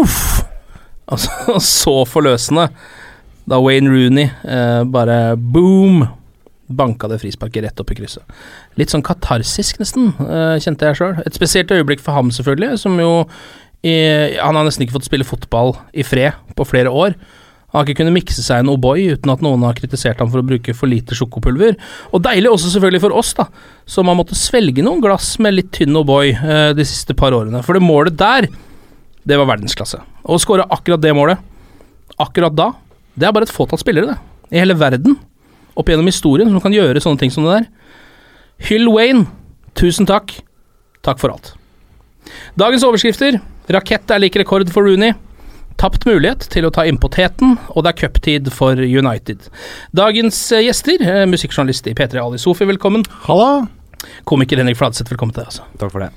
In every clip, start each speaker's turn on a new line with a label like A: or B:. A: Uff! Altså, så forløsende. Da Wayne Rooney eh, bare boom banka det frisparket rett opp i krysset. Litt sånn katarsisk, nesten, eh, kjente jeg sjøl. Et spesielt øyeblikk for ham, selvfølgelig, som jo i, Han har nesten ikke fått spille fotball i fred på flere år. Han har ikke kunnet mikse seg en O'boy uten at noen har kritisert ham for å bruke for lite sjokopulver. Og deilig også selvfølgelig for oss, da, som har måttet svelge noen glass med litt tynn O'boy eh, de siste par årene. For det målet der, det var verdensklasse. Og å skåre akkurat det målet, akkurat da, det er bare et fåtall spillere, det. I hele verden, opp gjennom historien, som kan gjøre sånne ting som det der. Hyll Wayne, tusen takk. Takk for alt. Dagens overskrifter. Rakett er lik rekord for Rooney. Tapt mulighet til å ta inn poteten, og det er cuptid for United. Dagens eh, gjester, eh, musikkjournalist i P3 Ali Sofi, velkommen.
B: Halla!
A: Komiker Henrik Fladseth, velkommen til deg. Altså.
C: Takk for det.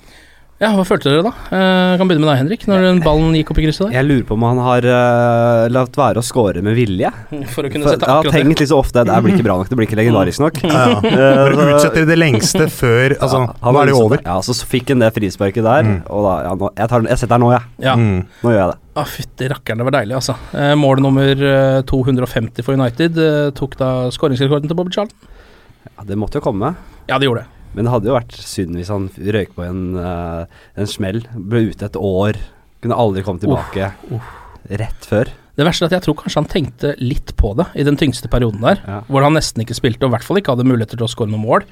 A: Ja, Hva følte dere da? Eh, Jeg kan begynne med deg, Henrik, når den ballen gikk opp i krysset der.
C: Jeg lurer på om han har uh, latt være å score med vilje.
A: For å kunne
C: For, jeg
A: sette
C: har
A: akkurat det.
C: tenkt liksom ofte det her blir ikke bra nok, det blir ikke legendarisk nok.
B: Ja, ja.
C: Eh,
B: Bare
C: så-
B: utsetter i det lengste før Altså,
C: Ja, han
B: nå er det jo
C: liksom-
B: over.
C: Ja, så s- fikk han det frisparket der,
B: Mm.
C: og da ja, nå, jeg, tar, den- jeg setter den nå, jeg.
A: Ja.
B: Mm.
C: Nå gjør jeg det.
A: Ah, Fytti rakkeren, det var deilig, altså. Eh, mål nummer eh, 250 for United eh, tok da skåringsrekorden til Bobby Charlton.
C: Ja, det måtte jo komme.
A: Ja, det gjorde det.
C: Men det hadde jo vært synd hvis han røyk på en, eh, en smell. Ble ute et år. Kunne aldri komme tilbake. Rett før.
A: Det verste er at jeg tror kanskje han tenkte litt på det i den tyngste perioden der,
C: Ja.
A: hvor han nesten ikke spilte, og i hvert fall ikke hadde muligheter til å skåre noen mål.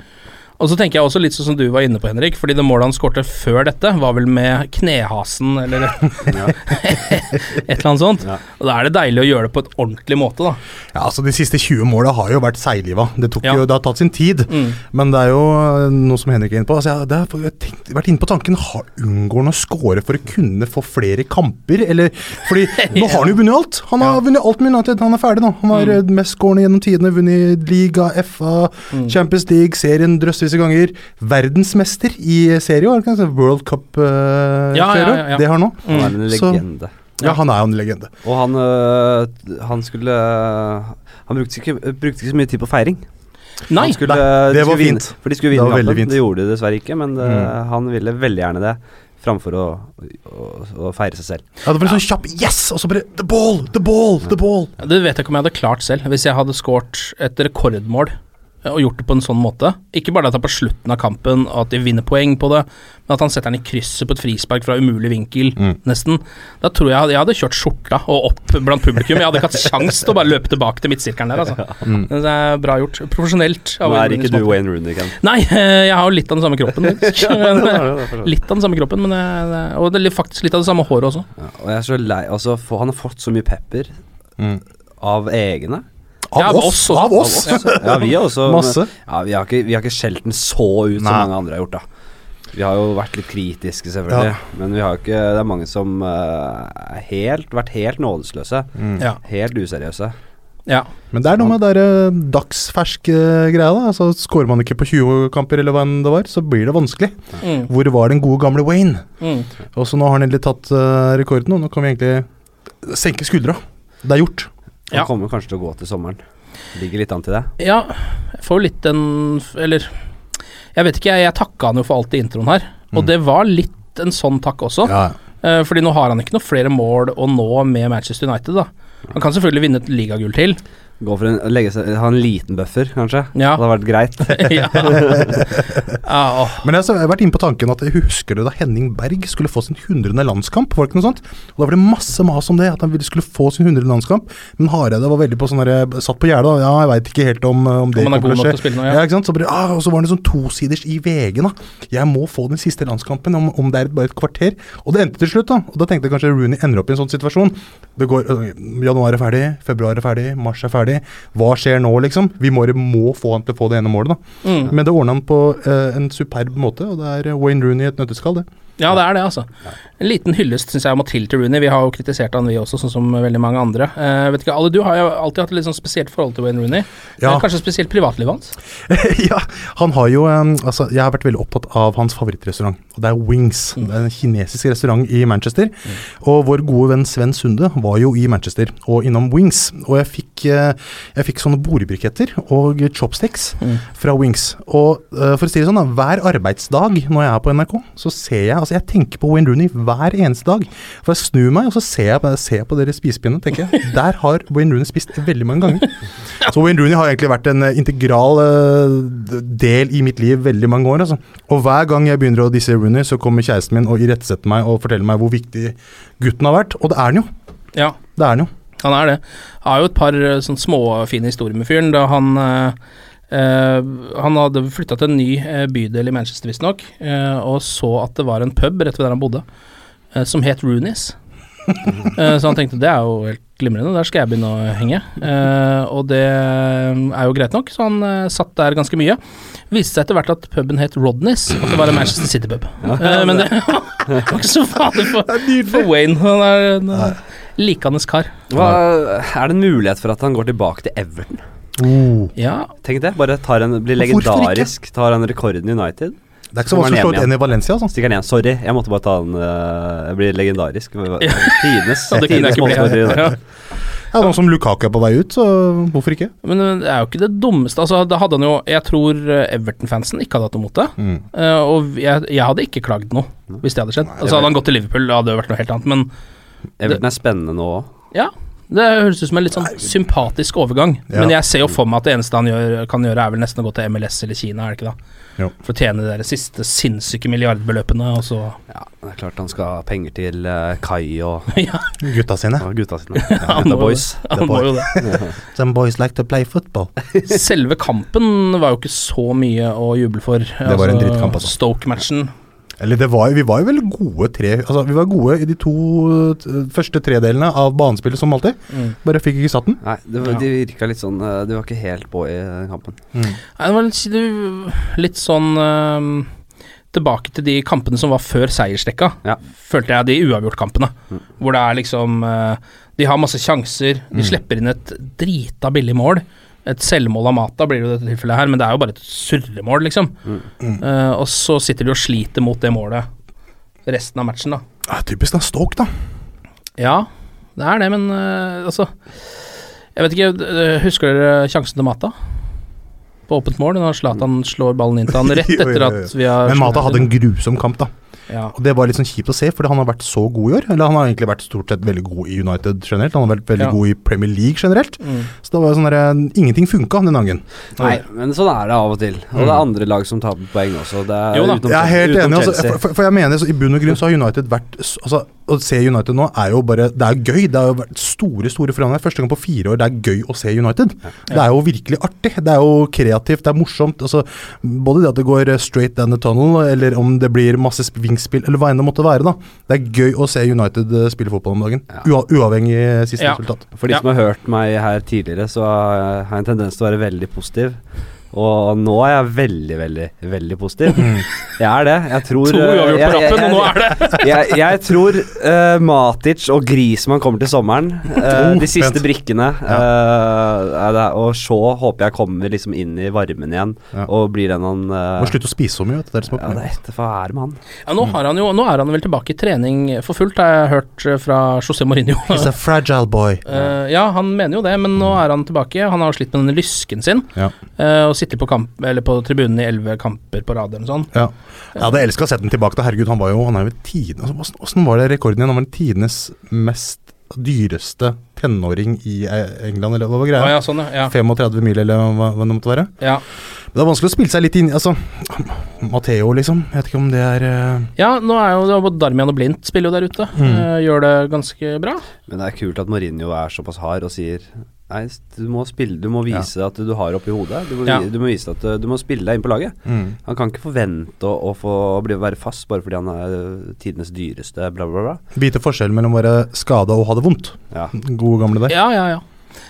A: Og så tenker jeg også litt sånn som du var inne på, Henrik, fordi det målet han skårte før dette, var vel med knehasen eller
C: Ja.
A: et eller annet sånt.
C: Ja.
A: Og da er det deilig å gjøre det på et ordentlig måte, da.
B: Ja, altså De siste 20 måla har jo vært seigliva. Det, tok
A: Ja.
B: jo, det har tatt sin tid.
A: Mm.
B: Men det er jo eh, noe som Henrik er inne på. Altså, jeg, det har jeg tenkt, vært inne på tanken har, Unngår han å score for å kunne få flere kamper? Eller, fordi nå har han jo vunnet alt! Han har
A: Ja.
B: vunnet alt med United. Han er ferdig nå. Han var mm. mestskårende gjennom tidene. Vunnet liga, FA,
A: Mm.
B: Champions League, serien drøssevis av ganger. Verdensmester i serie, var det ikke det? World Cup-serie.
A: Ja, ja, ja, ja.
B: Det har han nå.
C: Han er en
B: Så-
C: legende.
B: Ja, han er jo en legende.
C: Og han, øh, han skulle eh, Han brukte ikke, brukte ikke så mye tid på feiring.
A: Nei!
C: han skulle,
B: Nei,
C: de
B: det var
C: skulle vinne-
B: fint.
C: For de skulle
B: Det
C: vinne
B: var veldig
C: kampen.
B: fint.
C: Det gjorde de dessverre ikke, men øh,
B: Mm.
C: han ville veldig gjerne det. Framfor å, å, å feire seg selv.
B: Ja, det var en sånn kjapp Yes! Og så bare The ball! The ball! The ball!
A: Ja, Det vet jeg ikke om jeg hadde klart selv, hvis jeg hadde skåret et rekordmål eh, og gjort det på en sånn måte. Ikke bare at det er på slutten av kampen og at de vinner poeng på det, men at han setter den i krysset på et frispark fra umulig vinkel,
C: Mm.
A: nesten. Da tror jeg hadde- jeg hadde kjørt skjorta og opp blant publikum. Jeg hadde ikke hatt sjans til å bare løpe tilbake til midtsirkelen der, altså.
B: Mm.
A: Det er bra gjort. Profesjonelt. av
C: Nå er
A: Wayne
C: ikke du
A: Rooney.
C: Wayne Rooney, Ken.
A: Nei, eh, jeg har jo litt av den samme kroppen, faktisk. Men, eh, Litt av den samme kroppen, men eh, det- og det er faktisk litt av det samme håret også.
C: Ja, og jeg er så lei altså, for, Han har fått så mye pepper
B: Mm.
C: av egne.
B: Av,
A: Ja, av
B: oss!
A: oss også.
B: Av oss!
C: Ja, ja, vi har også
B: Masse.
C: Ja, vi har ikke, vi har ikke skjelt den så ut som
B: Nei.
C: mange andre har gjort, da. Vi har jo vært litt kritiske, selvfølgelig.
B: Ja.
C: Men vi har ikke, det er mange som eh, er helt, vært helt nådesløse.
B: Mm.
A: Ja.
C: Helt useriøse.
A: ja.
B: Men det er noe med den der, eh, dagsferske greia. da altså, Skårer man ikke på 20 kamper, eller hva enn det var, så blir det vanskelig.
A: Mm,
B: Hvor var den gode gamle Wayne?
A: mm.
B: Og så nå har han endelig tatt eh, rekorden, og nå kan vi egentlig senke skuldra. Det er gjort.
C: Han
A: Ja.
C: kommer kanskje til å gå til sommeren. Ligger litt an til det.
A: Ja, jeg får jo litt den Eller Jeg vet ikke, jeg, jeg takka han jo for alt i introen her. Og
B: Mm.
A: det var litt en sånn takk også.
B: Ja.
A: Eh, fordi nå har han ikke noe flere mål å nå med Manchester United, da. Han kan selvfølgelig vinne et ligagull til,
C: Gå for en, legge seg, ha en liten buffer, kanskje.
A: Ja.
C: Det hadde vært greit.
A: ja. ja åh.
B: Men jeg har så- vært inne på tanken at jeg husker det da Henning Berg skulle få sin 100. landskamp. Var det ikke noe sånt? Og Da var det masse mas om det, at han ville- skulle få sin 100. landskamp. Men Hareide var veldig på sånn herre Satt på gjerdet, og ja, jeg veit ikke helt om, om det
A: Om han er
B: kommer
A: god nok
B: til å
A: til å
B: skje.
A: spille nå,
B: Ja.
A: ja.
B: ikke sant? Så bare, ah, og så var det sånn tosiders i VG, da. Jeg må få den siste landskampen, om, om det er et, bare et kvarter. Og det endte til slutt, da. Og da tenkte jeg kanskje Rooney ender opp i en sånn situasjon. Det går, øh, Januar er ferdig, februar er ferdig, mars er ferdig. Hva skjer nå, liksom? Vi må, må få han til å få det ene målet, da.
A: Mm.
B: Men det ordna han på eh, en superb måte, og det er Wayne Rooney i et nøtteskall, det.
A: ja, det er det, altså. En liten hyllest syns jeg må til til Rooney. Vi har jo kritisert han vi også, sånn som veldig mange andre. Eh, vet ikke, Ali, du har jo alltid hatt et litt sånn spesielt forhold til Wayne Rooney.
B: Ja.
A: Eh, Kanskje spesielt privatlivet hans?
B: ja, han har jo eh, Altså, jeg har vært veldig opptatt av hans favorittrestaurant, og det er Wings. Det er en kinesisk restaurant i Manchester. Og vår gode venn Sven Sunde var jo i Manchester og innom Wings. Og jeg fikk, eh, jeg fikk sånne bordbriketter og chopsticks
A: Mm.
B: fra Wings. Og eh, for å si det sånn, da, hver arbeidsdag når jeg er på NRK, så ser jeg Altså, jeg tenker på Wayne Rooney hver eneste dag. For jeg snur meg, og så ser jeg, ser jeg på dere spisepinnene, tenker jeg. Der har Wayne Rooney spist veldig mange ganger. Så Wayne Rooney har egentlig vært en eh, integral eh, d- del i mitt liv veldig mange år. Altså. Og hver gang jeg begynner å disse Rooney, så kommer kjæresten min og irettesetter meg og forteller meg hvor viktig gutten har vært. Og det er han jo.
A: Ja.
B: Det er han jo.
A: Han er det. Han har jo et par eh, sånn småfine historier med fyren. Da han eh, eh, Han hadde flytta til en ny eh, bydel i Manchester, visstnok, eh, og så at det var en pub rett ved der han bodde, eh, som het Roonies. Eh, så han tenkte det er jo helt glimrende, der skal jeg begynne å henge. Eh, og det eh, er jo greit nok, så han eh, satt der ganske mye. Viste seg etter hvert at puben het Rodneys, og at det var en Manchester City-pub. Eh, men det var ikke så farlig for, for Wayne. Han er en eh, likandes kar.
C: Hva, er det en mulighet for at han går tilbake til Everton?
B: Oh.
A: Ja,
C: Tenk det. Bare tar en, blir
B: Og hvorfor ikke?
C: legendarisk. Tar han rekorden i United.
B: Det er ikke
C: Så
B: så
C: var han
B: vanskelig å slå
C: hjemme
B: ut
C: igjen.
B: en i Valencia, altså.
C: Stikker han igjen. Sorry, jeg måtte bare ta den. øh, Jeg blir legendarisk. Tidenes
A: Ja, det kunne jeg
C: tidenes
A: ikke bli.
C: målskårer i United.
A: Ja.
B: Ja, Noen som Lukaku er på vei ut, så hvorfor ikke?
A: Men øh, det er jo ikke det dummeste. Altså, da hadde han jo Jeg tror øh, Everton-fansen ikke hadde hatt noe mot det.
B: Mm.
A: Eh, og jeg, jeg hadde ikke klagd noe, hvis det hadde skjedd. Altså Hadde han gått til Liverpool, da hadde det vært noe helt annet. Men
C: Everton er spennende nå òg.
A: det høres ut som en litt sånn sympatisk overgang.
B: Ja.
A: Men jeg ser jo for meg at det eneste han gjør, kan gjøre, er vel nesten å gå til MLS eller Kina, er det ikke da?
B: Jo.
A: For å tjene de der siste sinnssyke milliardbeløpene, og så
C: Ja, det er klart han skal ha penger til øh, Kai og,
A: Ja,
B: Gutta sine.
C: og gutta sine. Ja,
A: han
C: the
A: må jo det.
C: boys.
A: han må jo det.
B: Some boys like to play football.
A: Selve kampen var jo ikke så mye å juble for. Det
B: var en drittkamp, altså.
A: Stoke-matchen.
B: Eller det var, jo- vi var jo vel gode tre Altså, vi var gode i de to eh, første tredelene av banespillet, som alltid.
A: Mm.
B: Bare fikk ikke satt den.
C: Nei, det, var- de virka litt sånn øh, De var ikke helt på i den kampen.
A: Nei, det var litt, du- litt sånn ehm, Tilbake til de kampene som var før seiersrekka,
C: Ja.
A: følte jeg de uavgjort-kampene.
C: Mm.
A: Hvor det er liksom eh, De har masse sjanser, de slipper inn et drita billig mål. Et selvmål av Mata blir det jo i dette tilfellet her, men det er jo bare et surremål, liksom.
C: Mm.
A: Eh, og så sitter de og sliter mot det målet resten av matchen, da.
B: Ja, typisk da, Stoke, da.
A: Ja, det er det, men eh, altså Jeg vet ikke, eh, husker dere sjansen til Mata? På åpent mål, når Zlatan slår ballen inn til han rett
B: Jo, jo,
A: etter
B: jo,
A: at vi har
B: Men Mata hadde en grusom kamp, da.
A: ja.
B: Og Det var litt sånn kjipt å se, fordi han har vært så god i år. Eller han har egentlig vært stort sett veldig god i United generelt. Han har vært veldig
A: Ja.
B: god i Premier League generelt.
A: Mm.
B: Så det var jo sånn der, ingenting funka den dagen.
C: Nei, men sånn er det av og til. Og
B: Mm.
C: det er andre lag som taper poeng også. Det er
A: Jo da.
C: utenom
B: Jeg er helt
C: utenom
B: enig. Altså,
C: Chelsea.
B: for, for jeg mener, så I bunn og grunn så har United vært s- altså, Å se United nå er jo bare Det er gøy. Det har jo vært store store forandringer. Første gang på fire år det er gøy å se United. Det er jo virkelig artig. Det er jo kreativt, det er morsomt. Altså, både det at det går eh, straight down the tunnel, eller om det blir masse sp- vingspill, eller hva enn det måtte være. da Det er gøy å se United eh, spille fotball om dagen.
C: Ja.
B: Ua uavhengig eh, siste
A: Ja.
B: resultat.
C: For de
A: Ja.
C: som har hørt meg her tidligere, så eh, har jeg en tendens til å være veldig positiv. Og nå er jeg veldig, veldig, veldig positiv.
B: Mm.
C: Jeg er det. Jeg tror
A: To uavgjort
C: eh,
A: på
C: jeg-
A: rappen, og nå
C: jeg-
A: er det
C: jeg, jeg tror eh, Matic og Griezmann kommer til sommeren. Eh,
B: Oh,
C: de siste
B: spent.
C: brikkene. eh, er det, og Shaw håper jeg kommer liksom inn i varmen igjen
B: Ja.
C: og blir den han eh,
B: Må slutte å spise så mye. Vet du, det er det som er
C: ja, det,
B: problemet.
C: er- Hva er det med han?
A: ja, nå, har han jo, nå er han vel tilbake i trening for fullt, har jeg hørt eh, fra José Mourinho.
B: He's a fragile boy.
A: Eh, ja, han mener jo det, men nå er han tilbake. Han har slitt med den lysken sin,
B: Ja.
A: eh, og sitter på, kamp, eller på tribunen i elleve kamper på rad eller noe sånt.
B: Ja. Jeg hadde elska å sette den tilbake. Da. Herregud, han var jo han er jo tiden, altså, hvordan, hvordan var det rekorden igjen? Han var tidenes mest dyreste tenåring i eh, England, eller hva var
A: Å
B: greia?
A: ja, sånn, ja.
B: 35 mil, eller hva, hva det måtte være.
A: Ja.
B: Men det er vanskelig å spille seg litt inn Altså, Matheo, liksom. Jeg vet ikke om det er eh,
A: ja, nå er jo det er både Darmian og Blindt spiller jo der ute.
B: Mm.
A: Eh, gjør det ganske bra.
C: Men det er kult at Mourinho er såpass hard og sier Nei, s- du må spille, du må vise at du har oppi hodet. Du må,
A: Ja.
C: vi- du må vise at uh, du må spille deg inn på laget.
A: Mm.
C: Han kan ikke forvente å, å få å bli, være fast bare fordi han er uh, tidenes dyreste, bla, bla, bla.
B: Vite forskjellen mellom å være skada og ha det vondt.
C: Ja.
B: God gamle deg.
A: Ja, ja, ja.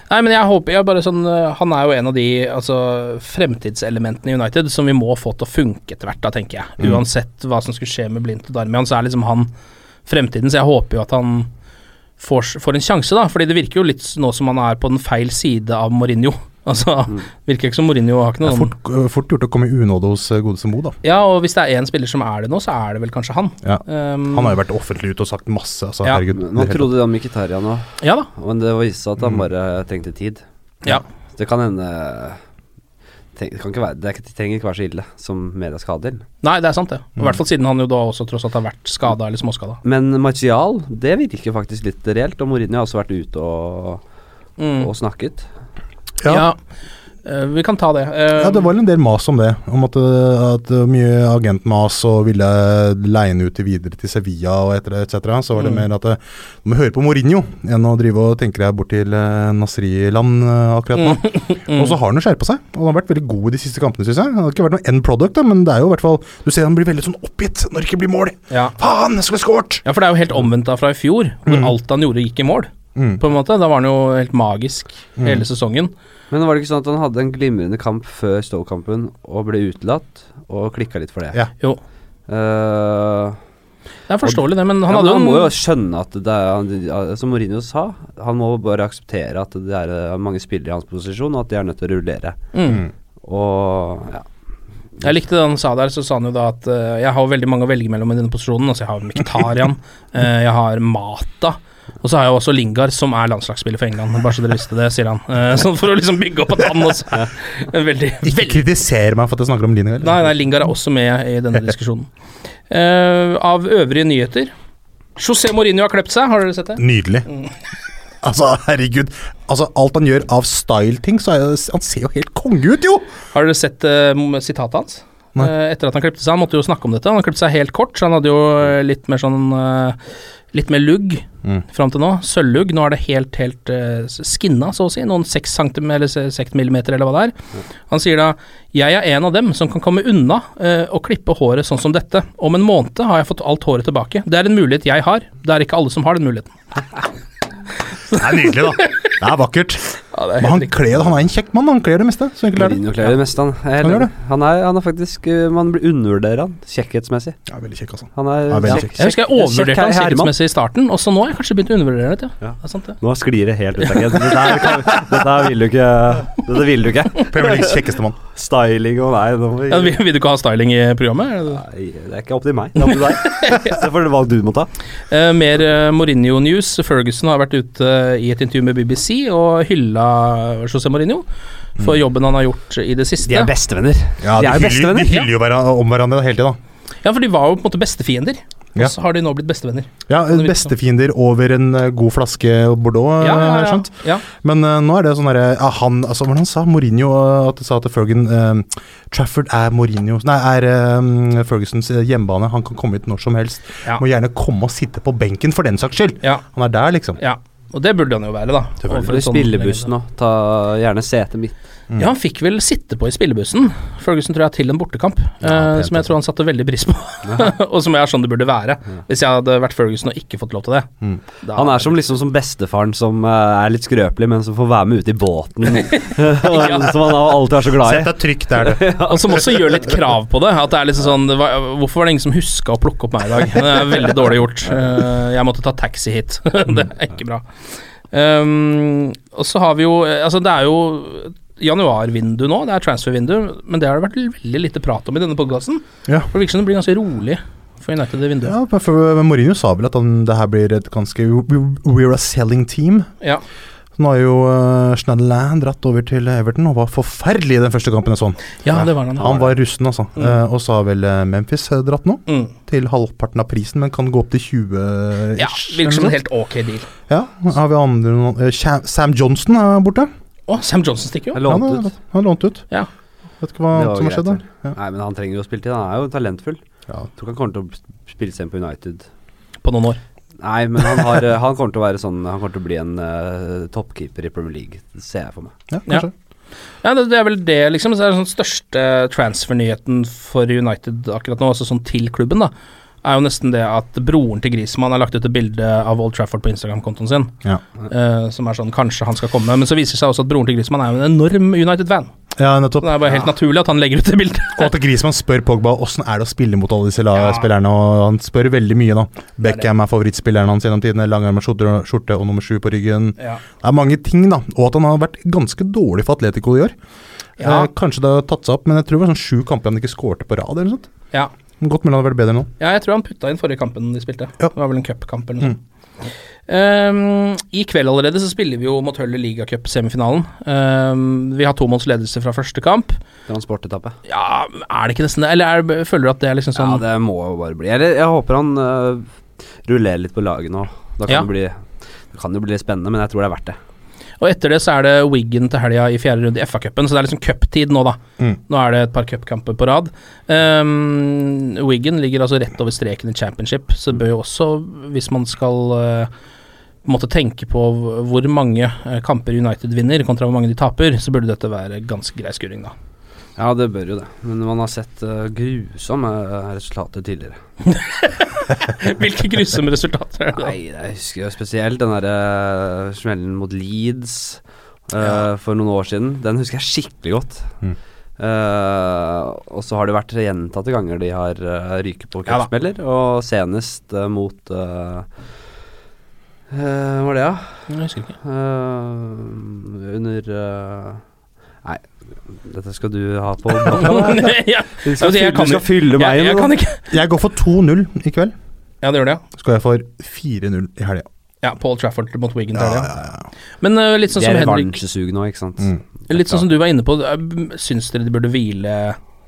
A: Nei, men jeg håper jeg bare sånn eh, Han er jo en av de altså, fremtidselementene i United som vi må få til å funke etter hvert, da, tenker jeg.
B: Mm.
A: Uansett hva som skulle skje med Blindt og Darmian, så er liksom han fremtiden. Så jeg håper jo at han får, s- får en sjanse, da. Fordi det virker jo litt s- nå som han er på den feil side av Mourinho. Altså,
C: Mm.
A: virker ikke som Mourinho har ikke
B: Det
A: noe
B: er
A: sånn
B: fort, eh, fort gjort å komme i unåde hos eh, godeste Mo, da.
A: Ja, og hvis det er én spiller som er det nå, så er det vel kanskje han.
B: Ja.
A: Um,
B: Han har jo vært offentlig ute og sagt masse. Altså,
A: Ja.
B: herregud.
C: Man trodde det om Mkhitarian nå,
A: Ja da.
C: men det viste seg at han
B: Mm.
C: bare trengte tid.
A: Ja.
C: Det kan hende tenk, det, kan ikke være, det, er ikke, det trenger ikke være så ille som media skal ha det til.
A: Nei, det er sant, det. I
B: Mm.
A: hvert fall siden han jo da også tross alt har vært skada eller småskada.
C: Men Martial, det virker faktisk litt reelt. Og Mourinho har også vært ute og,
A: Mm.
C: og snakket.
B: Ja.
A: Ja. Eh, vi kan ta det. Eh,
B: Ja, det var en del mas om det. Om at, eh, at eh, mye agentmas og ville leie han ut til videre til Sevilla og etter det, etc. Så var det
A: Mm.
B: mer at eh, du må høre på Mourinho enn å drive og tenke deg bort til eh, Nasri-land eh, akkurat nå.
A: mm.
B: Og så har han jo skjerpa seg, og han har vært veldig god i de siste kampene, syns jeg. Han har ikke vært noe end product, da, men det er jo i hvert fall Du ser han blir veldig sånn oppgitt når det ikke blir mål.
A: ja.
B: Faen, jeg skulle skåret!
A: ja, for det er jo helt omvendt da fra i fjor, hvor
B: Mm.
A: alt han gjorde, gikk i mål.
B: Mm.
A: På en måte. Da var han jo helt magisk
B: Mm.
A: hele sesongen.
C: Men var det ikke sånn at han hadde en glimrende kamp før Stoke-kampen og ble utelatt, og klikka litt for det?
B: Ja.
A: Jo,
C: Eh,
A: det er forståelig, det, men
C: ja,
A: han
C: men
A: hadde
C: han må
A: jo
C: jo
A: en
C: skjønne at det er han- Som Mourinho sa, han må bare akseptere at det er eh, mange spillere i hans posisjon, og at de er nødt til å rullere.
A: mm.
C: Og ja.
A: Jeg likte det han sa der, så sa han jo da at eh, jeg har veldig mange å velge mellom i denne posisjonen. Altså, jeg har Mkhitaryan, eh, jeg har Mata, og så har jeg også Lingard, som er landslagsspiller for England. Bare så dere visste det, sier han. Eh, sånn for å liksom bygge opp at han også Veldig,
B: Ikke
A: veldig
B: kritiser meg for at jeg snakker om Linegar.
A: Nei, nei, Lingard er også med i denne diskusjonen. Eh, av øvrige nyheter José Mourinho har klept seg, har dere sett det?
B: Nydelig.
A: Mm.
B: Altså, herregud. Altså, alt han gjør av style-ting, så er, han ser jo helt konge ut, jo!
A: Har dere sett eh, m- sitatet hans?
B: Nei.
A: Eh, etter at han klepte seg, han måtte jo snakke om dette. Han har klept seg helt kort, så han hadde jo eh, litt mer sånn eh, Litt mer lugg
B: Mm.
A: fram til nå. Sølvlugg. Nå er det helt, helt eh, skinna, så å si. Noen 6 cm eller 6 mm eller hva det er. Han sier da Jeg er en av dem som kan komme unna eh, å klippe håret sånn som dette. Om en måned har jeg fått alt håret tilbake. Det er en mulighet jeg har. Det er ikke alle som har den muligheten.
B: Det er nydelig, da. Det er vakkert.
A: Ja, det er
B: Men han, kler, han er en kjekk mann, han kler det meste. Så enkelt er det.
C: Mourinho kler det meste, han. Jeg er helt
B: Han gjør
C: enig. Han er, han er faktisk eh, Man blir undervurderer han kjekkhetsmessig.
B: Ja, veldig kjekk, altså.
C: Han er,
B: Ja, veldig kjekk.
A: Jeg husker jeg overvurderte han
C: Herman.
A: sikkerhetsmessig i starten, og så nå har jeg kanskje begynt å undervurdere det. Ja.
C: Ja.
A: Det er sant, det.
C: Nå sklir det helt ut, Agent. Dette, her kan- dette her vil du ikke Dette vil du ikke.
B: Premier Leagues kjekkeste mann.
C: Styling og nei, nå må vi
A: Ja, vil, vil du ikke ha styling i programmet? Er det det?
C: Nei, det er ikke opp til meg. Det er opp til deg. Se for deg hva du må ta.
A: Eh, mer eh, Mourinho-news. Ferguson har vært ute i et intervju med BBC og hylla José Mourinho for jobben han har gjort i det siste.
C: bestevenner.
B: Ja,
C: De er jo
B: hyller-
C: bestevenner.
B: De hyller jo hverandre om hverandre hele tida.
A: Ja, for de var jo på en måte bestefiender,
B: Ja.
A: og så har de nå blitt bestevenner.
B: Ja,
A: det virker
B: bestefiender over en eh, god flaske Bordeaux, eh, har jeg skjønt.
A: ja.
B: Men eh, nå er det sånn derre ja, Han altså, hvordan sa Mourinho eh, at det sa til Fergan eh, Trafford er Mourinho Nei, er eh, Fergusons eh, hjemmebane. Han kan komme hit når som helst.
A: Ja.
B: Må gjerne komme og sitte på benken for den saks skyld.
A: Ja,
B: Han er der, liksom.
A: ja. Og det burde han jo være, da.
B: Selvfølgelig.
A: overfor en sånn legende.
C: Spillebussen òg. Ta gjerne setet mitt.
B: Mm.
A: Ja, han fikk vel sitte på i spillebussen, Ferguson tror jeg, til en bortekamp.
B: Ja,
A: eh,
B: pent,
A: som jeg tror han satte veldig pris på, og som er sånn det burde være.
C: Ja.
A: Hvis jeg hadde vært Ferguson og ikke fått lov til det.
B: Mm.
A: da-
C: Han er som liksom som bestefaren som eh, er litt skrøpelig, men som får være med ut i båten. som han alltid er så glad i.
B: Sett deg trygt der, du.
A: Og som også gjør litt krav på det. At det er liksom sånn det var, Hvorfor var det ingen som huska å plukke opp meg i dag? Det er veldig dårlig gjort. Eh, jeg måtte ta taxi hit. det er ikke bra. Um, og så har vi jo Altså, det er jo januarvindu nå, det er transfervindu, men det har det vært veldig lite prat om i denne podkasten.
B: Ja.
A: For det virker som det blir ganske rolig for United i vinduet.
B: Ja, eh, men for men Mourinho sa vel at han, det her blir et ganske We're a selling team.
A: Ja.
B: Så nå har jo uh, Schneiderland dratt over til Everton og var forferdelig i den første kampen jeg så han.
A: Ja, det var han.
B: Han var rusten, altså.
A: Mm.
B: Eh, og så har vel eh, Memphis eh, dratt nå,
A: Mm.
B: til halvparten av prisen, men kan gå opp til 20
A: Ja, virker som en helt ok deal.
B: Ja, har vi andre noen eh, Cha- Sam Johnson er borte.
A: Å, Sam Johnson stikker jo.
C: Jeg lånte
B: han,
C: ut.
B: er, han er lånt ut.
A: Ja.
B: Vet ikke hva
C: Det var
B: som har
C: greit,
B: skjedd der. Ja.
C: Nei, men han trenger jo spilletid. Han er jo talentfull.
B: Ja.
C: Jeg tror ikke han kommer til å sp- spille seg inn på United.
A: På noen år.
C: Nei, men han, har, eh, han kommer til å være sånn Han kommer til å bli en eh, toppkeeper i Premier League. Det ser jeg for meg.
B: Ja, kanskje.
A: Ja, det, det er vel det, liksom. Så er den største transfernyheten for United akkurat nå, altså sånn til klubben, da, er jo nesten det at broren til Griezmann har lagt ut et bilde av Old Trafford på Instagram-kontoen sin,
B: Ja.
A: eh, som er sånn kanskje han skal komme, men så viser det seg også at broren til Griezmann er jo en enorm United-fan.
B: ja. nettopp.
A: Så det er bare helt naturlig at han legger ut det bildet.
B: Og at Griezmann spør Pogba åssen er det å spille mot alle disse la-
A: Ja.
B: spillerne, og han spør veldig mye, da. Beckham er favorittspilleren hans gjennom tidene. Langarmet skjorte, skjorte og nummer sju på ryggen.
A: Ja.
B: Det er mange ting, da. Og at han har vært ganske dårlig for Atletico i år.
A: Ja.
B: Eh, kanskje det har tatt seg opp, men jeg tror det var sånn sju kamper han ikke skårte på rad. eller noe sånt.
A: Ja.
B: Godt mulig han hadde vært bedre nå.
A: Ja, jeg tror han putta inn forrige kampen de spilte.
B: Ja. Mm.
A: Det var vel en cupkamp eller noe. Ehm, I kveld allerede så spiller vi jo mot Hølle ligacup-semifinalen. Ehm, vi har to måls ledelse fra første kamp.
C: Transportetappe.
A: Ja, er det ikke nesten det? Eller er, føler du at det er liksom sånn
C: Ja, det må jo bare bli. Eller jeg håper han eh, rullerer litt på laget nå. Da kan
A: Ja.
C: det bli det kan jo bli litt spennende, men jeg tror det er verdt det.
A: Og etter det så er det Wiggen til helga i fjerde runde i FA-cupen, så det er liksom cuptid nå, da.
B: Mm.
A: Nå er det et par cupkamper på rad. Um, Wiggen ligger altså rett over streken i championship, så det bør jo også, hvis man skal eh, måtte tenke på hv- hvor mange eh, kamper United vinner kontra hvor mange de taper, så burde dette være ganske grei skuring, da.
C: Ja, det bør jo det. Men man har sett eh, grusomme eh, resultater tidligere.
A: Hvilke grusomme resultater er det? da?
C: Nei, jeg husker jo spesielt den derre eh, smellen mot Leeds eh,
A: Ja.
C: for noen år siden. Den husker jeg skikkelig godt.
B: Mm.
C: Eh, og så har det vært gjentatte ganger de har eh, ryket på
A: Ja da.
C: cupsmeller, og senest eh, mot eh, eh, Hva var det, da?
A: Jeg husker ikke.
C: Eh, under eh, Nei, dette skal du ha på blokka. da.
A: ja,
C: Du skal,
A: Altså, jeg
C: fylle-
A: kan
C: du skal fylle meg
A: jeg,
C: inn.
A: jeg
C: da.
A: kan ikke
B: Jeg går for 2-0 i kveld.
A: Ja, det gjør det, ja.
B: Skal jeg for 4-0 i helga.
A: ja Paul Trafford mot Wiggen til
B: Ja,
A: helga.
B: ja, ja.
A: Men eh, litt sånn
C: Det
A: som
C: er
A: Henrik
C: revansjesug nå, ikke sant.
B: Mm.
A: Litt sånn som du var inne på, eh, syns dere de burde hvile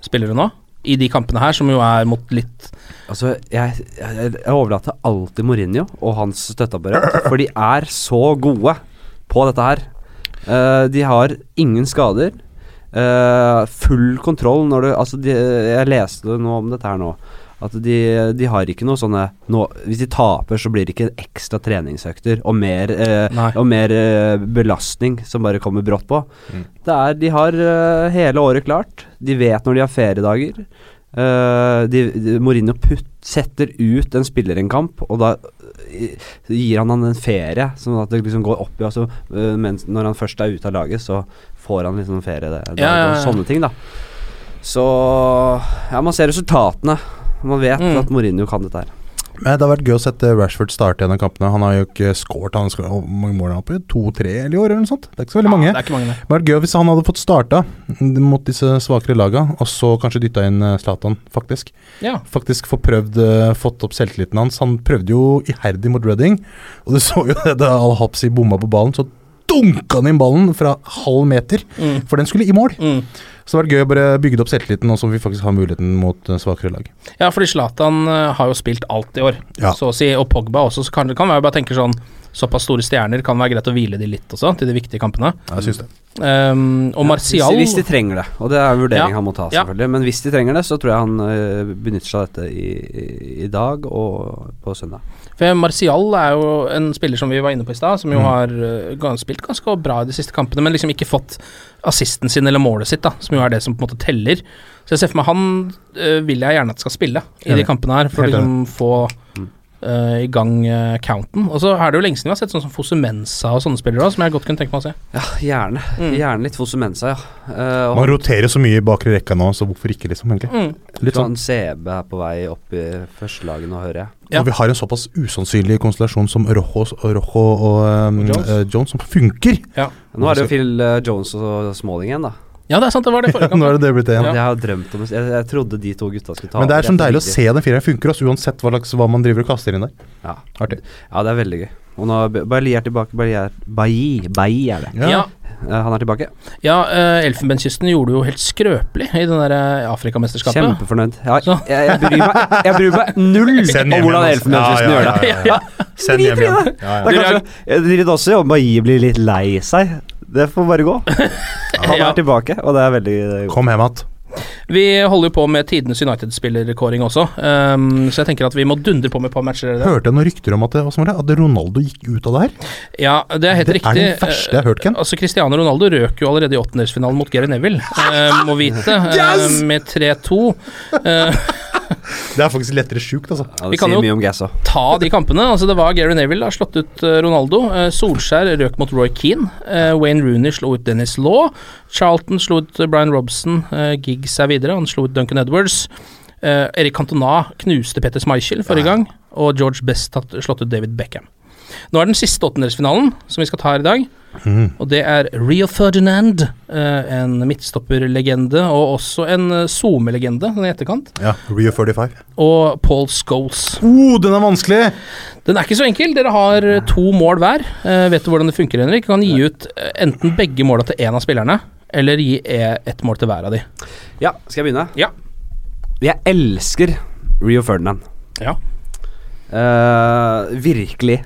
A: spillere nå? I de kampene her, som jo er mot litt
C: Altså, jeg, jeg, jeg overlater alltid Mourinho og hans støtteapparat, for de er så gode på dette her. Eh, de har ingen skader. Eh, full kontroll når du Altså, de, jeg leste noe om dette her nå. At de, de har ikke noe sånne nå- Hvis de taper, så blir det ikke ekstra treningsøkter og mer, eh,
A: Nei.
C: og mer eh, belastning som bare kommer brått på.
B: Mm.
C: Det er, de har eh, hele året klart. De vet når de har feriedager. Eh, de, de, Mourinho putt, setter ut en spiller en kamp, og da eh, gir han han en ferie. Sånn at det liksom går opp i altså, eh, mens, Når han først er ute av laget, så får han liksom ferie. Det, det,
A: Ja, ja, ja.
C: Og sånne ting, da. Så Ja, man ser resultatene. Man vet
A: Mm.
C: at Mourinho kan dette her.
B: Men det har vært gøy å sette Rashford starte igjen av kampene. Han har jo ikke scoret han skal, hvor mange mål er han oppe i? To-tre i år, eller noe sånt? Det er ikke så veldig mange.
A: Ja, det er ikke mange, det.
B: Det hadde vært gøy hvis han hadde fått starta mot disse svakere laga, og så kanskje dytta inn eh, Zlatan, faktisk.
A: Ja.
B: Faktisk få prøvd, eh, fått opp selvtilliten hans. Han prøvde jo iherdig mot Reading, og du så jo det da Al-Hapsi bomma på ballen. Så dunka han inn ballen fra halv meter,
A: Mm.
B: for den skulle i mål.
A: Mm.
B: Så det hadde vært gøy å bare bygge opp selvtilliten, og så vi faktisk har muligheten mot eh, svakere lag.
A: ja, fordi Zlatan eh, har jo spilt alt i år,
B: Ja.
A: så å si. Og Pogba også, så kan, kan være bare tenker sånn Såpass store stjerner kan være greit å hvile de litt også, til de viktige kampene.
B: Jeg syns det.
A: Um, og Martial
C: Hvis, hvis de trenger det, og det er en vurdering
A: Ja,
C: han må ta,
A: ja.
C: selvfølgelig. Men hvis de trenger det, så tror jeg han eh, benytter seg av dette i, i, i dag og på søndag.
A: For Martial er jo en spiller som vi var inne på i stad, som jo
B: Mm.
A: har eh, gans- spilt ganske bra i de siste kampene, men liksom ikke fått assisten sin eller målet sitt, da, som jo er det som på en måte teller. Så jeg ser for meg han eh, vil jeg gjerne at skal spille i de
B: Enig.
A: kampene her, for å
B: Helt
A: liksom få
C: Mm.
A: eh, i gang eh, counten. Og så er det jo lenge siden vi har sett sånn som Fosumensa og sånne spillere også, som jeg godt kunne tenke meg å se.
C: Ja, gjerne.
A: Mm.
C: Gjerne litt Fosumensa, ja. Eh, og
B: Man roterer så mye i bakre rekka nå, så hvorfor ikke, liksom, egentlig.
A: Mm.
B: Litt sånn.
C: sånn CB er på vei opp i førstelaget nå, hører jeg.
A: Ja.
B: Og vi har en såpass usannsynlig konstellasjon som Rojo og, Rojo og, um,
A: Og Jones.
B: eh, Jones, som funker.
C: Nå er det jo Phil eh, Jones og Smalling igjen, da.
A: Ja, det er sant, det var det forrige
B: Nå
A: kamp.
B: er det det blitt igjen.
A: Ja.
C: Jeg har drømt om Jeg, jeg trodde de to gutta skulle ta
B: Men det er
C: over.
B: sånn deilig å
C: veldig-
B: se den fireren funker også, uansett hva, slags, hva man driver og kaster inn der.
C: Ja.
B: Artig.
C: ja, det er veldig gøy. Og nå er Bailly er tilbake. Bailly er Bailly, Bailly er det.
A: Ja, ja,
C: Eh, Han er tilbake.
A: eh, Elfenbenskysten gjorde det jo helt skrøpelig i den der eh, Afrikamesterskapet.
C: Kjempefornøyd. Ja,
A: Så.
C: jeg, jeg, bryr meg, jeg bryr meg null
B: Send
C: om
B: hjem
C: hvordan
B: igjen, altså.
C: Elfenbenskysten
B: Ja, ja,
C: gjør det.
B: ja, ja. Send hjem igjen. Ja,
C: Det
B: ja.
C: er kanskje, jeg driter også i om Bailly blir litt lei seg. Det får bare gå. Han
A: Ja.
C: er tilbake, og det er veldig eh,
B: Kom hjem igjen.
A: Vi holder jo på med tidenes United-spillerkåring også, ehm, så jeg tenker at vi må dundre på med et par matcher. der.
B: Hørte jeg noen rykter om at, det- hva som var det, at Ronaldo gikk ut av det her?
A: Ja, det er helt
B: det
A: riktig.
B: er den verste jeg har hørt,
A: Eh,
B: Ken.
A: Altså, Cristiano Ronaldo røk jo allerede i åttendelsfinalen mot Gary Neville, eh, må vite, eh,
B: Yes!
A: med 3-2. Eh,
B: Det er faktisk lettere sjukt, altså.
C: Ja,
A: Vi
C: det
A: kan
C: sier
A: jo-
C: mye om Gass òg.
A: ta de kampene. Altså, det var Gary Neville, da, slått ut eh, Ronaldo. Eh, Solskjær røk mot Roy Keane. Eh, Wayne Rooney slo ut Dennis Law. Charlton slo ut eh, Brian Robson. Eh, Giggs er videre, han slo ut Duncan Edwards. Eh, Erik Cantona knuste Petter Schmeichel forrige gang, og George Best har slått ut David Beckham. Nå er den siste åttendelsfinalen som vi skal ta her i dag, og det er Rio Ferdinand. eh, En midtstopperlegende, og også en eh, SoMe-legende i etterkant.
B: Ja, Rio 45.
A: Og Paul Scholes.
B: Oh, den er vanskelig!
A: Den er ikke så enkel. Dere har eh, to mål hver. Eh, vet du hvordan det funker, Henrik? Du kan gi ut eh, enten begge måla til én av spillerne, eller gi eh, ett mål til hver av de.
C: Ja, skal jeg begynne?
A: Ja.
C: Jeg elsker Rio Ferdinand.
A: Ja.
C: Eh, virkelig.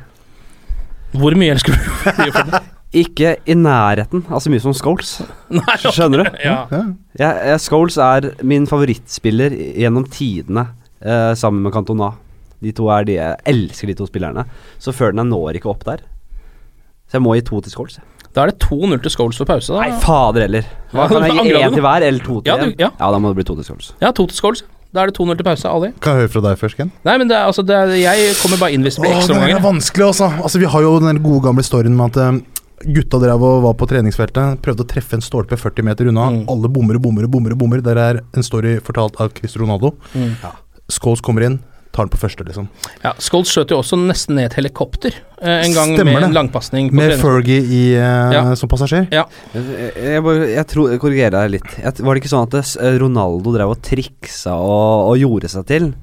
A: Hvor mye elsker du Rio Ferdinand?
C: Ikke i nærheten av så mye som Scholes.
A: Nei, ok.
C: Skjønner du?
A: Ja.
B: Ja.
C: Jeg, jeg, Scholes er min favorittspiller gjennom tidene, eh, sammen med Cantona. De to er de jeg elsker, de to spillerne. Så Ferdinand når ikke opp der. Så jeg må gi to til Scholes. jeg.
A: Da er det 2-0 til Scholes for pause.
C: Nei,
A: Da.
C: fader heller. Hva,
A: Ja,
C: kan jeg
A: angrer
C: gi
A: du
C: én
A: nå?
C: til hver, eller to til
A: Ja,
C: én?
A: du- ja.
C: da må det bli to til Scholes.
A: Ja, to til Scholes. Da er det 2-0 til pause, Ali.
B: Kan jeg høre fra deg først, Ken?
A: Nei, men det er, altså, det er, jeg kommer bare inn hvis det blir
B: Åh, det er
A: ekstraomganger.
B: vanskelig, altså. altså. Vi har jo den der gode gamle storyen med at eh, gutta drev og var på treningsfeltet, prøvde å treffe en stolpe 40 meter unna.
A: Mm.
B: Alle bommer og bommer og bommer. og bommer. Der er en story fortalt av Cristiano Ronaldo.
A: Mm.
B: Scholes kommer inn, tar den på første, liksom.
A: Ja, Scholes skjøt jo også nesten ned et helikopter eh, en gang
B: Stemmer
A: med
B: det.
A: en langpasning. på
B: Med
A: trening.
B: Fergie i, eh,
A: Ja.
B: som passasjer.
C: Jeg, jeg, bare- jeg, tror, jeg korrigerer deg litt. Jeg, var det ikke sånn at det, eh, Ronaldo drev og triksa og, og gjorde seg til?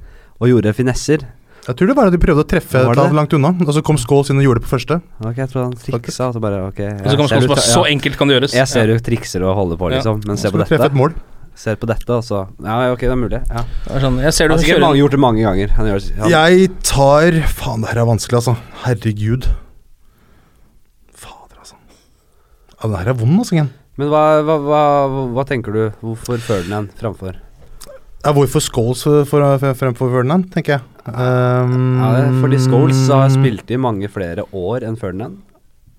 C: Og gjorde finesser?
B: Jeg tror det var at de prøvde å treffe
C: Var det det?
B: ta den langt unna, og så kom Scholes inn og gjorde det på første.
C: Ok, jeg tror han triksa, og så bare ok
A: Og så
C: jeg
A: kommer
C: ser
A: Scholes
C: du
A: bare
C: ta-
A: Så
C: ja.
A: enkelt kan det gjøres.
C: Jeg ser jo trikser og holder på,
A: Ja.
C: liksom. Men se på
B: Skulle treffe
C: dette.
B: et mål.
C: Ser på dette, og så Ja, ok, det er mulig. Ja.
A: Ja, det er sånn, jeg ser
C: Han
A: du
C: har sikkert
A: kjører
C: Altså, mange, gjort det mange ganger. Han gjør, det- han,
B: Jeg tar Faen, det her er vanskelig, altså. Herregud. Fader, altså. Ja, den her er vond, altså, Ken.
C: Men hva, hva, hva, hva tenker du? Hvorfor føler den en framfor?
B: Ja, hvorfor Scholes for, for, for, fremfor Ferdinand, tenker jeg. Um,
C: Ja, det er fordi Scholes
A: Mm.
C: har spilt i mange flere år enn Ferdinand.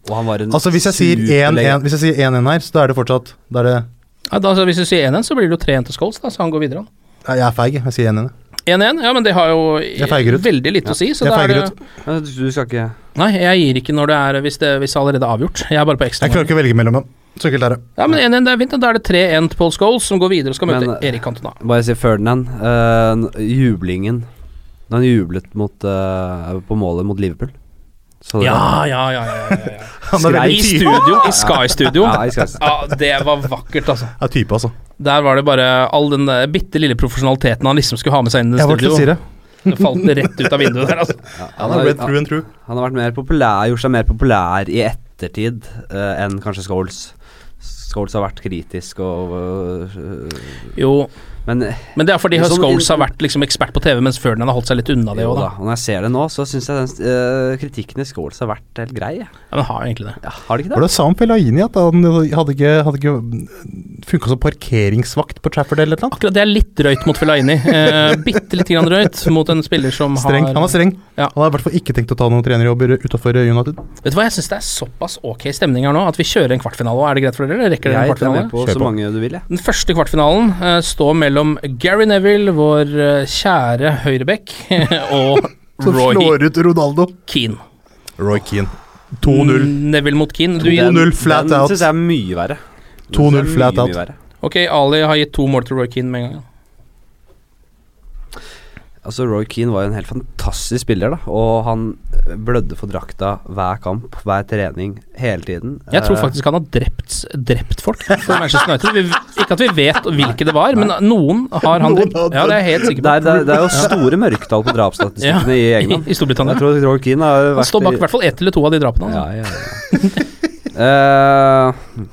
C: Og han var en
B: Altså, hvis jeg sier
C: superlegende.
B: 1-1 Hvis jeg sier 1-1 her, så da er det fortsatt Da er det
A: Ja, da, altså, hvis du sier 1-1, så blir det jo 3-1 til Scholes, da, så han går videre. han.
B: Nei, Jeg er feig, jeg sier 1-1.
A: 1-1, ja, men det har jo
B: Jeg feiger ut.
A: veldig lite å si. Så
B: Jeg
A: da er
B: feiger
A: det,
C: Ja, Du du skal ikke
A: Nei, jeg gir ikke når det er hvis det, hvis det er allerede er avgjort. Jeg er bare på ekstra.
B: Jeg klarer ikke å velge mellom dem. Så enkelt er det.
A: Ja, men 1-1, det er fint. Da Da er det 3-1 til Paul Scholes, som går videre og skal møte
C: Men, eh,
A: Erik Cantona.
C: Bare si Ferdinand. eh, n- jublingen da han jublet mot, eh, på målet mot Liverpool. Så det-
A: Ja, ja, ja. ja, ja, ja.
B: Han er
C: Skrei.
A: I
B: veldig type,
A: studio, i Sky Studio.
C: Ja, i Sky Studio.
A: Ja, det var vakkert, altså.
B: er type altså.
A: Der var det bare all den der bitte lille profesjonaliteten han liksom skulle ha med seg inn i
B: Jeg var til å si
A: studio.
B: det.
A: Det falt rett ut av vinduet der, altså.
C: Ja,
B: Han er red through and through.
C: Han har vært mer populær, gjort seg mer populær i ettertid eh, enn kanskje Scholes. Scholes har vært kritisk og øh,
A: Jo,
C: Men
A: men det er fordi
C: Men sånn-
A: Scholes har vært liksom ekspert på TV, mens Ferdinand har holdt seg litt unna det
C: jo
A: òg,
C: da,
A: da.
C: og når jeg ser det nå, så syns jeg den eh, kritikken i Scholes har vært helt grei. jeg.
A: Ja, men har jo egentlig det.
C: Ja, har det ikke
B: Var
C: det?
B: det Sam Fellaini at han hadde ikke, hadde ikke funka som parkeringsvakt på Trafford eller noe?
A: Akkurat det er litt drøyt mot Fellaini. Eh, bitte lite grann drøyt mot en spiller som
B: Streng.
A: har
B: Han er streng.
A: Ja.
B: Han har i hvert fall ikke tenkt å ta noen trenerjobber utafor United.
A: Vet du hva, jeg syns det er såpass ok stemning her nå at vi kjører en kvartfinale. og Er det greit for dere? eller Rekker dere en
C: Jeg tar med
A: kvartfinale?
C: på
B: Kjør
C: så
B: på.
C: mange du vil, jeg.
A: Den første kvartfinalen eh, står mellom Gary Neville, vår eh, kjære høyreback, og
B: Som
A: Roy
B: slår ut Ronaldo.
A: Keane. Mm,
B: Roy Keane. 2-0.
A: Neville mot Keane. Du gir,
B: 2-0 flat
C: den
B: out.
C: syns jeg er mye verre. Den
B: 2-0
C: synes jeg er
B: flat
C: mye,
B: out.
C: mye verre.
A: ok, Ali har gitt to mål til Roy Keane med en gang.
C: Altså Roy Keane var jo en helt fantastisk spiller, da. Og han blødde for drakta hver kamp, hver trening, hele tiden.
A: Jeg tror
C: Eh,
A: faktisk han har drept, drept folk for Manchester United. Vi, ikke at vi vet hvilke det var, men noen har han drept. Ja, det er jeg helt
C: det
A: sikker på.
C: er, det, er, det er jo store mørketall på drapsstatistikkene i
A: Ja,
C: England.
A: I Storbritannia.
C: Jeg tror Roy Keane har vært
A: Han står bak i hvert fall ett eller to av de drapene. Altså.
C: Ja, ja, ja. Eh,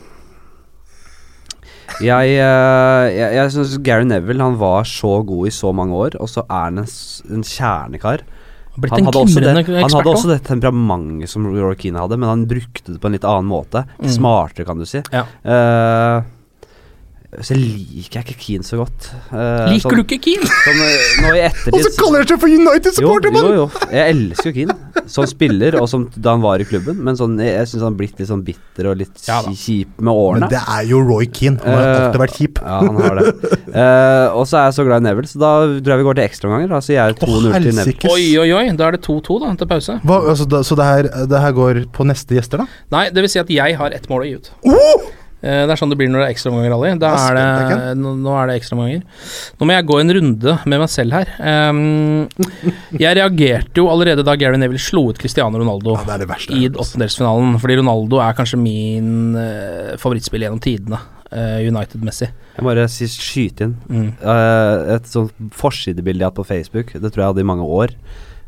C: jeg eh, jeg, jeg syns Gary Neville han var så god i så mange år, og så er han en, s- en kjernekar.
A: Han har Blitt
C: Han
A: en
C: hadde, også det,
A: glimrende
C: han
A: ekspert
C: hadde også
A: også.
C: det temperamentet som Roy Keane hadde, men han brukte det på en litt annen måte.
A: Mm.
C: Smartere, kan du si.
A: Ja.
C: Eh, så liker jeg ikke Keane så godt. Eh,
A: Liker
C: sånn-
A: du ikke Keane?
C: sånn, eh, nå i ettertid
B: Og så kaller han seg for
C: jo, jo,
B: United-supporter, mann!
C: jo. Jeg elsker jo Keane som spiller, og som da han var i klubben, men sånn, jeg, jeg syns han har blitt litt sånn bitter og litt
A: Ja da.
C: ki- kjip med
B: Men
C: årene.
B: det er jo Roy Keane. Han har
C: Eh,
B: alltid vært kjip.
C: Ja, han har det. Eh, og så er jeg så glad i Neville, så da tror jeg vi går til ekstraomganger. Da sier jeg
B: Å,
C: 2-0 til Neville.
B: helsikes.
A: Oi, oi, oi. Da er det 2-2 da, til pause.
B: Hva, altså, da, så det her, det her går på neste gjester, da?
A: Nei, det vil si at jeg har ett mål å gi ut.
B: Oh!
A: Eh, Det er sånn det blir når det er ekstraomganger, Ali. Da
B: Ja,
A: er
B: spent,
A: det, nå nå er det ekstraomganger. Nå må jeg gå en runde med meg selv her. Ehm, jeg reagerte jo allerede da Gary Neville slo ut Cristiano Ronaldo
B: Ja, det er det verste.
A: i åttendelsfinalen, fordi Ronaldo er kanskje min eh, favorittspiller gjennom tidene, eh, United-messig.
C: Jeg må bare si, skyte inn
A: Mm.
C: Eh, et sånt forsidebilde jeg har hatt på Facebook. Det tror jeg hadde i mange år.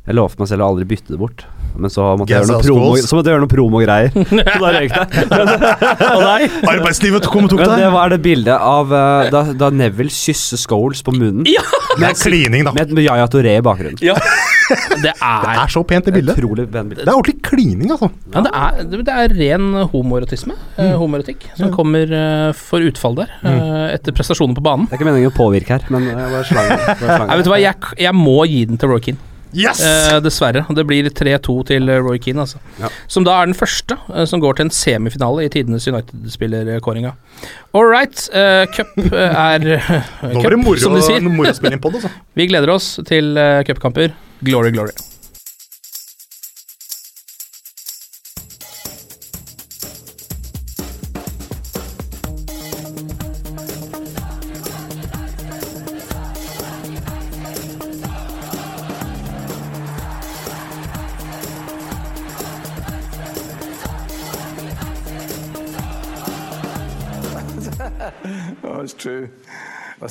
C: Jeg lovte meg selv å aldri bytte det bort. Men så måtte jeg
B: Guess
C: gjøre noe
B: I'll
C: promo
B: scrolls.
C: Så måtte jeg gjøre noe promogreier. Så da røyk det. Og nei.
B: altså. Arbeidslivet kom og tok
C: Men det
B: deg!
C: var det bildet av eh, da, da Neville kysser Scholes på munnen
A: Ja!
B: Det er klining, da.
C: med et Yaya Touré i bakgrunnen.
A: Det er,
B: Det er så pent, det bildet.
C: Utrolig pen bilde.
B: Det er ordentlig klining, altså.
A: ja, det er, det det er ren homoerotisme, eh,
B: Mm.
A: homoerotikk, som kommer eh, for utfall der, eh, etter prestasjonen på banen.
C: Det er ikke meningen å påvirke her, men eh, jeg bare slang det. Bare slang
A: Nei, vet
C: det.
A: du hva, jeg, k- jeg må gi den til Roy Keane.
B: Yes!
A: Eh, dessverre. Det blir 3-2 til eh, Roy Keane, altså.
C: Ja.
A: Som da er den første eh, som går til en semifinale i tidenes United-spillerkåringa. All right, eh, cup eh, er
B: Nå blir
A: cup,
B: det moro
A: som de sier.
B: moro å spille inn pod, altså.
A: Vi gleder oss til eh, cupkamper. Glory, glory.
D: Oh, it's true. I've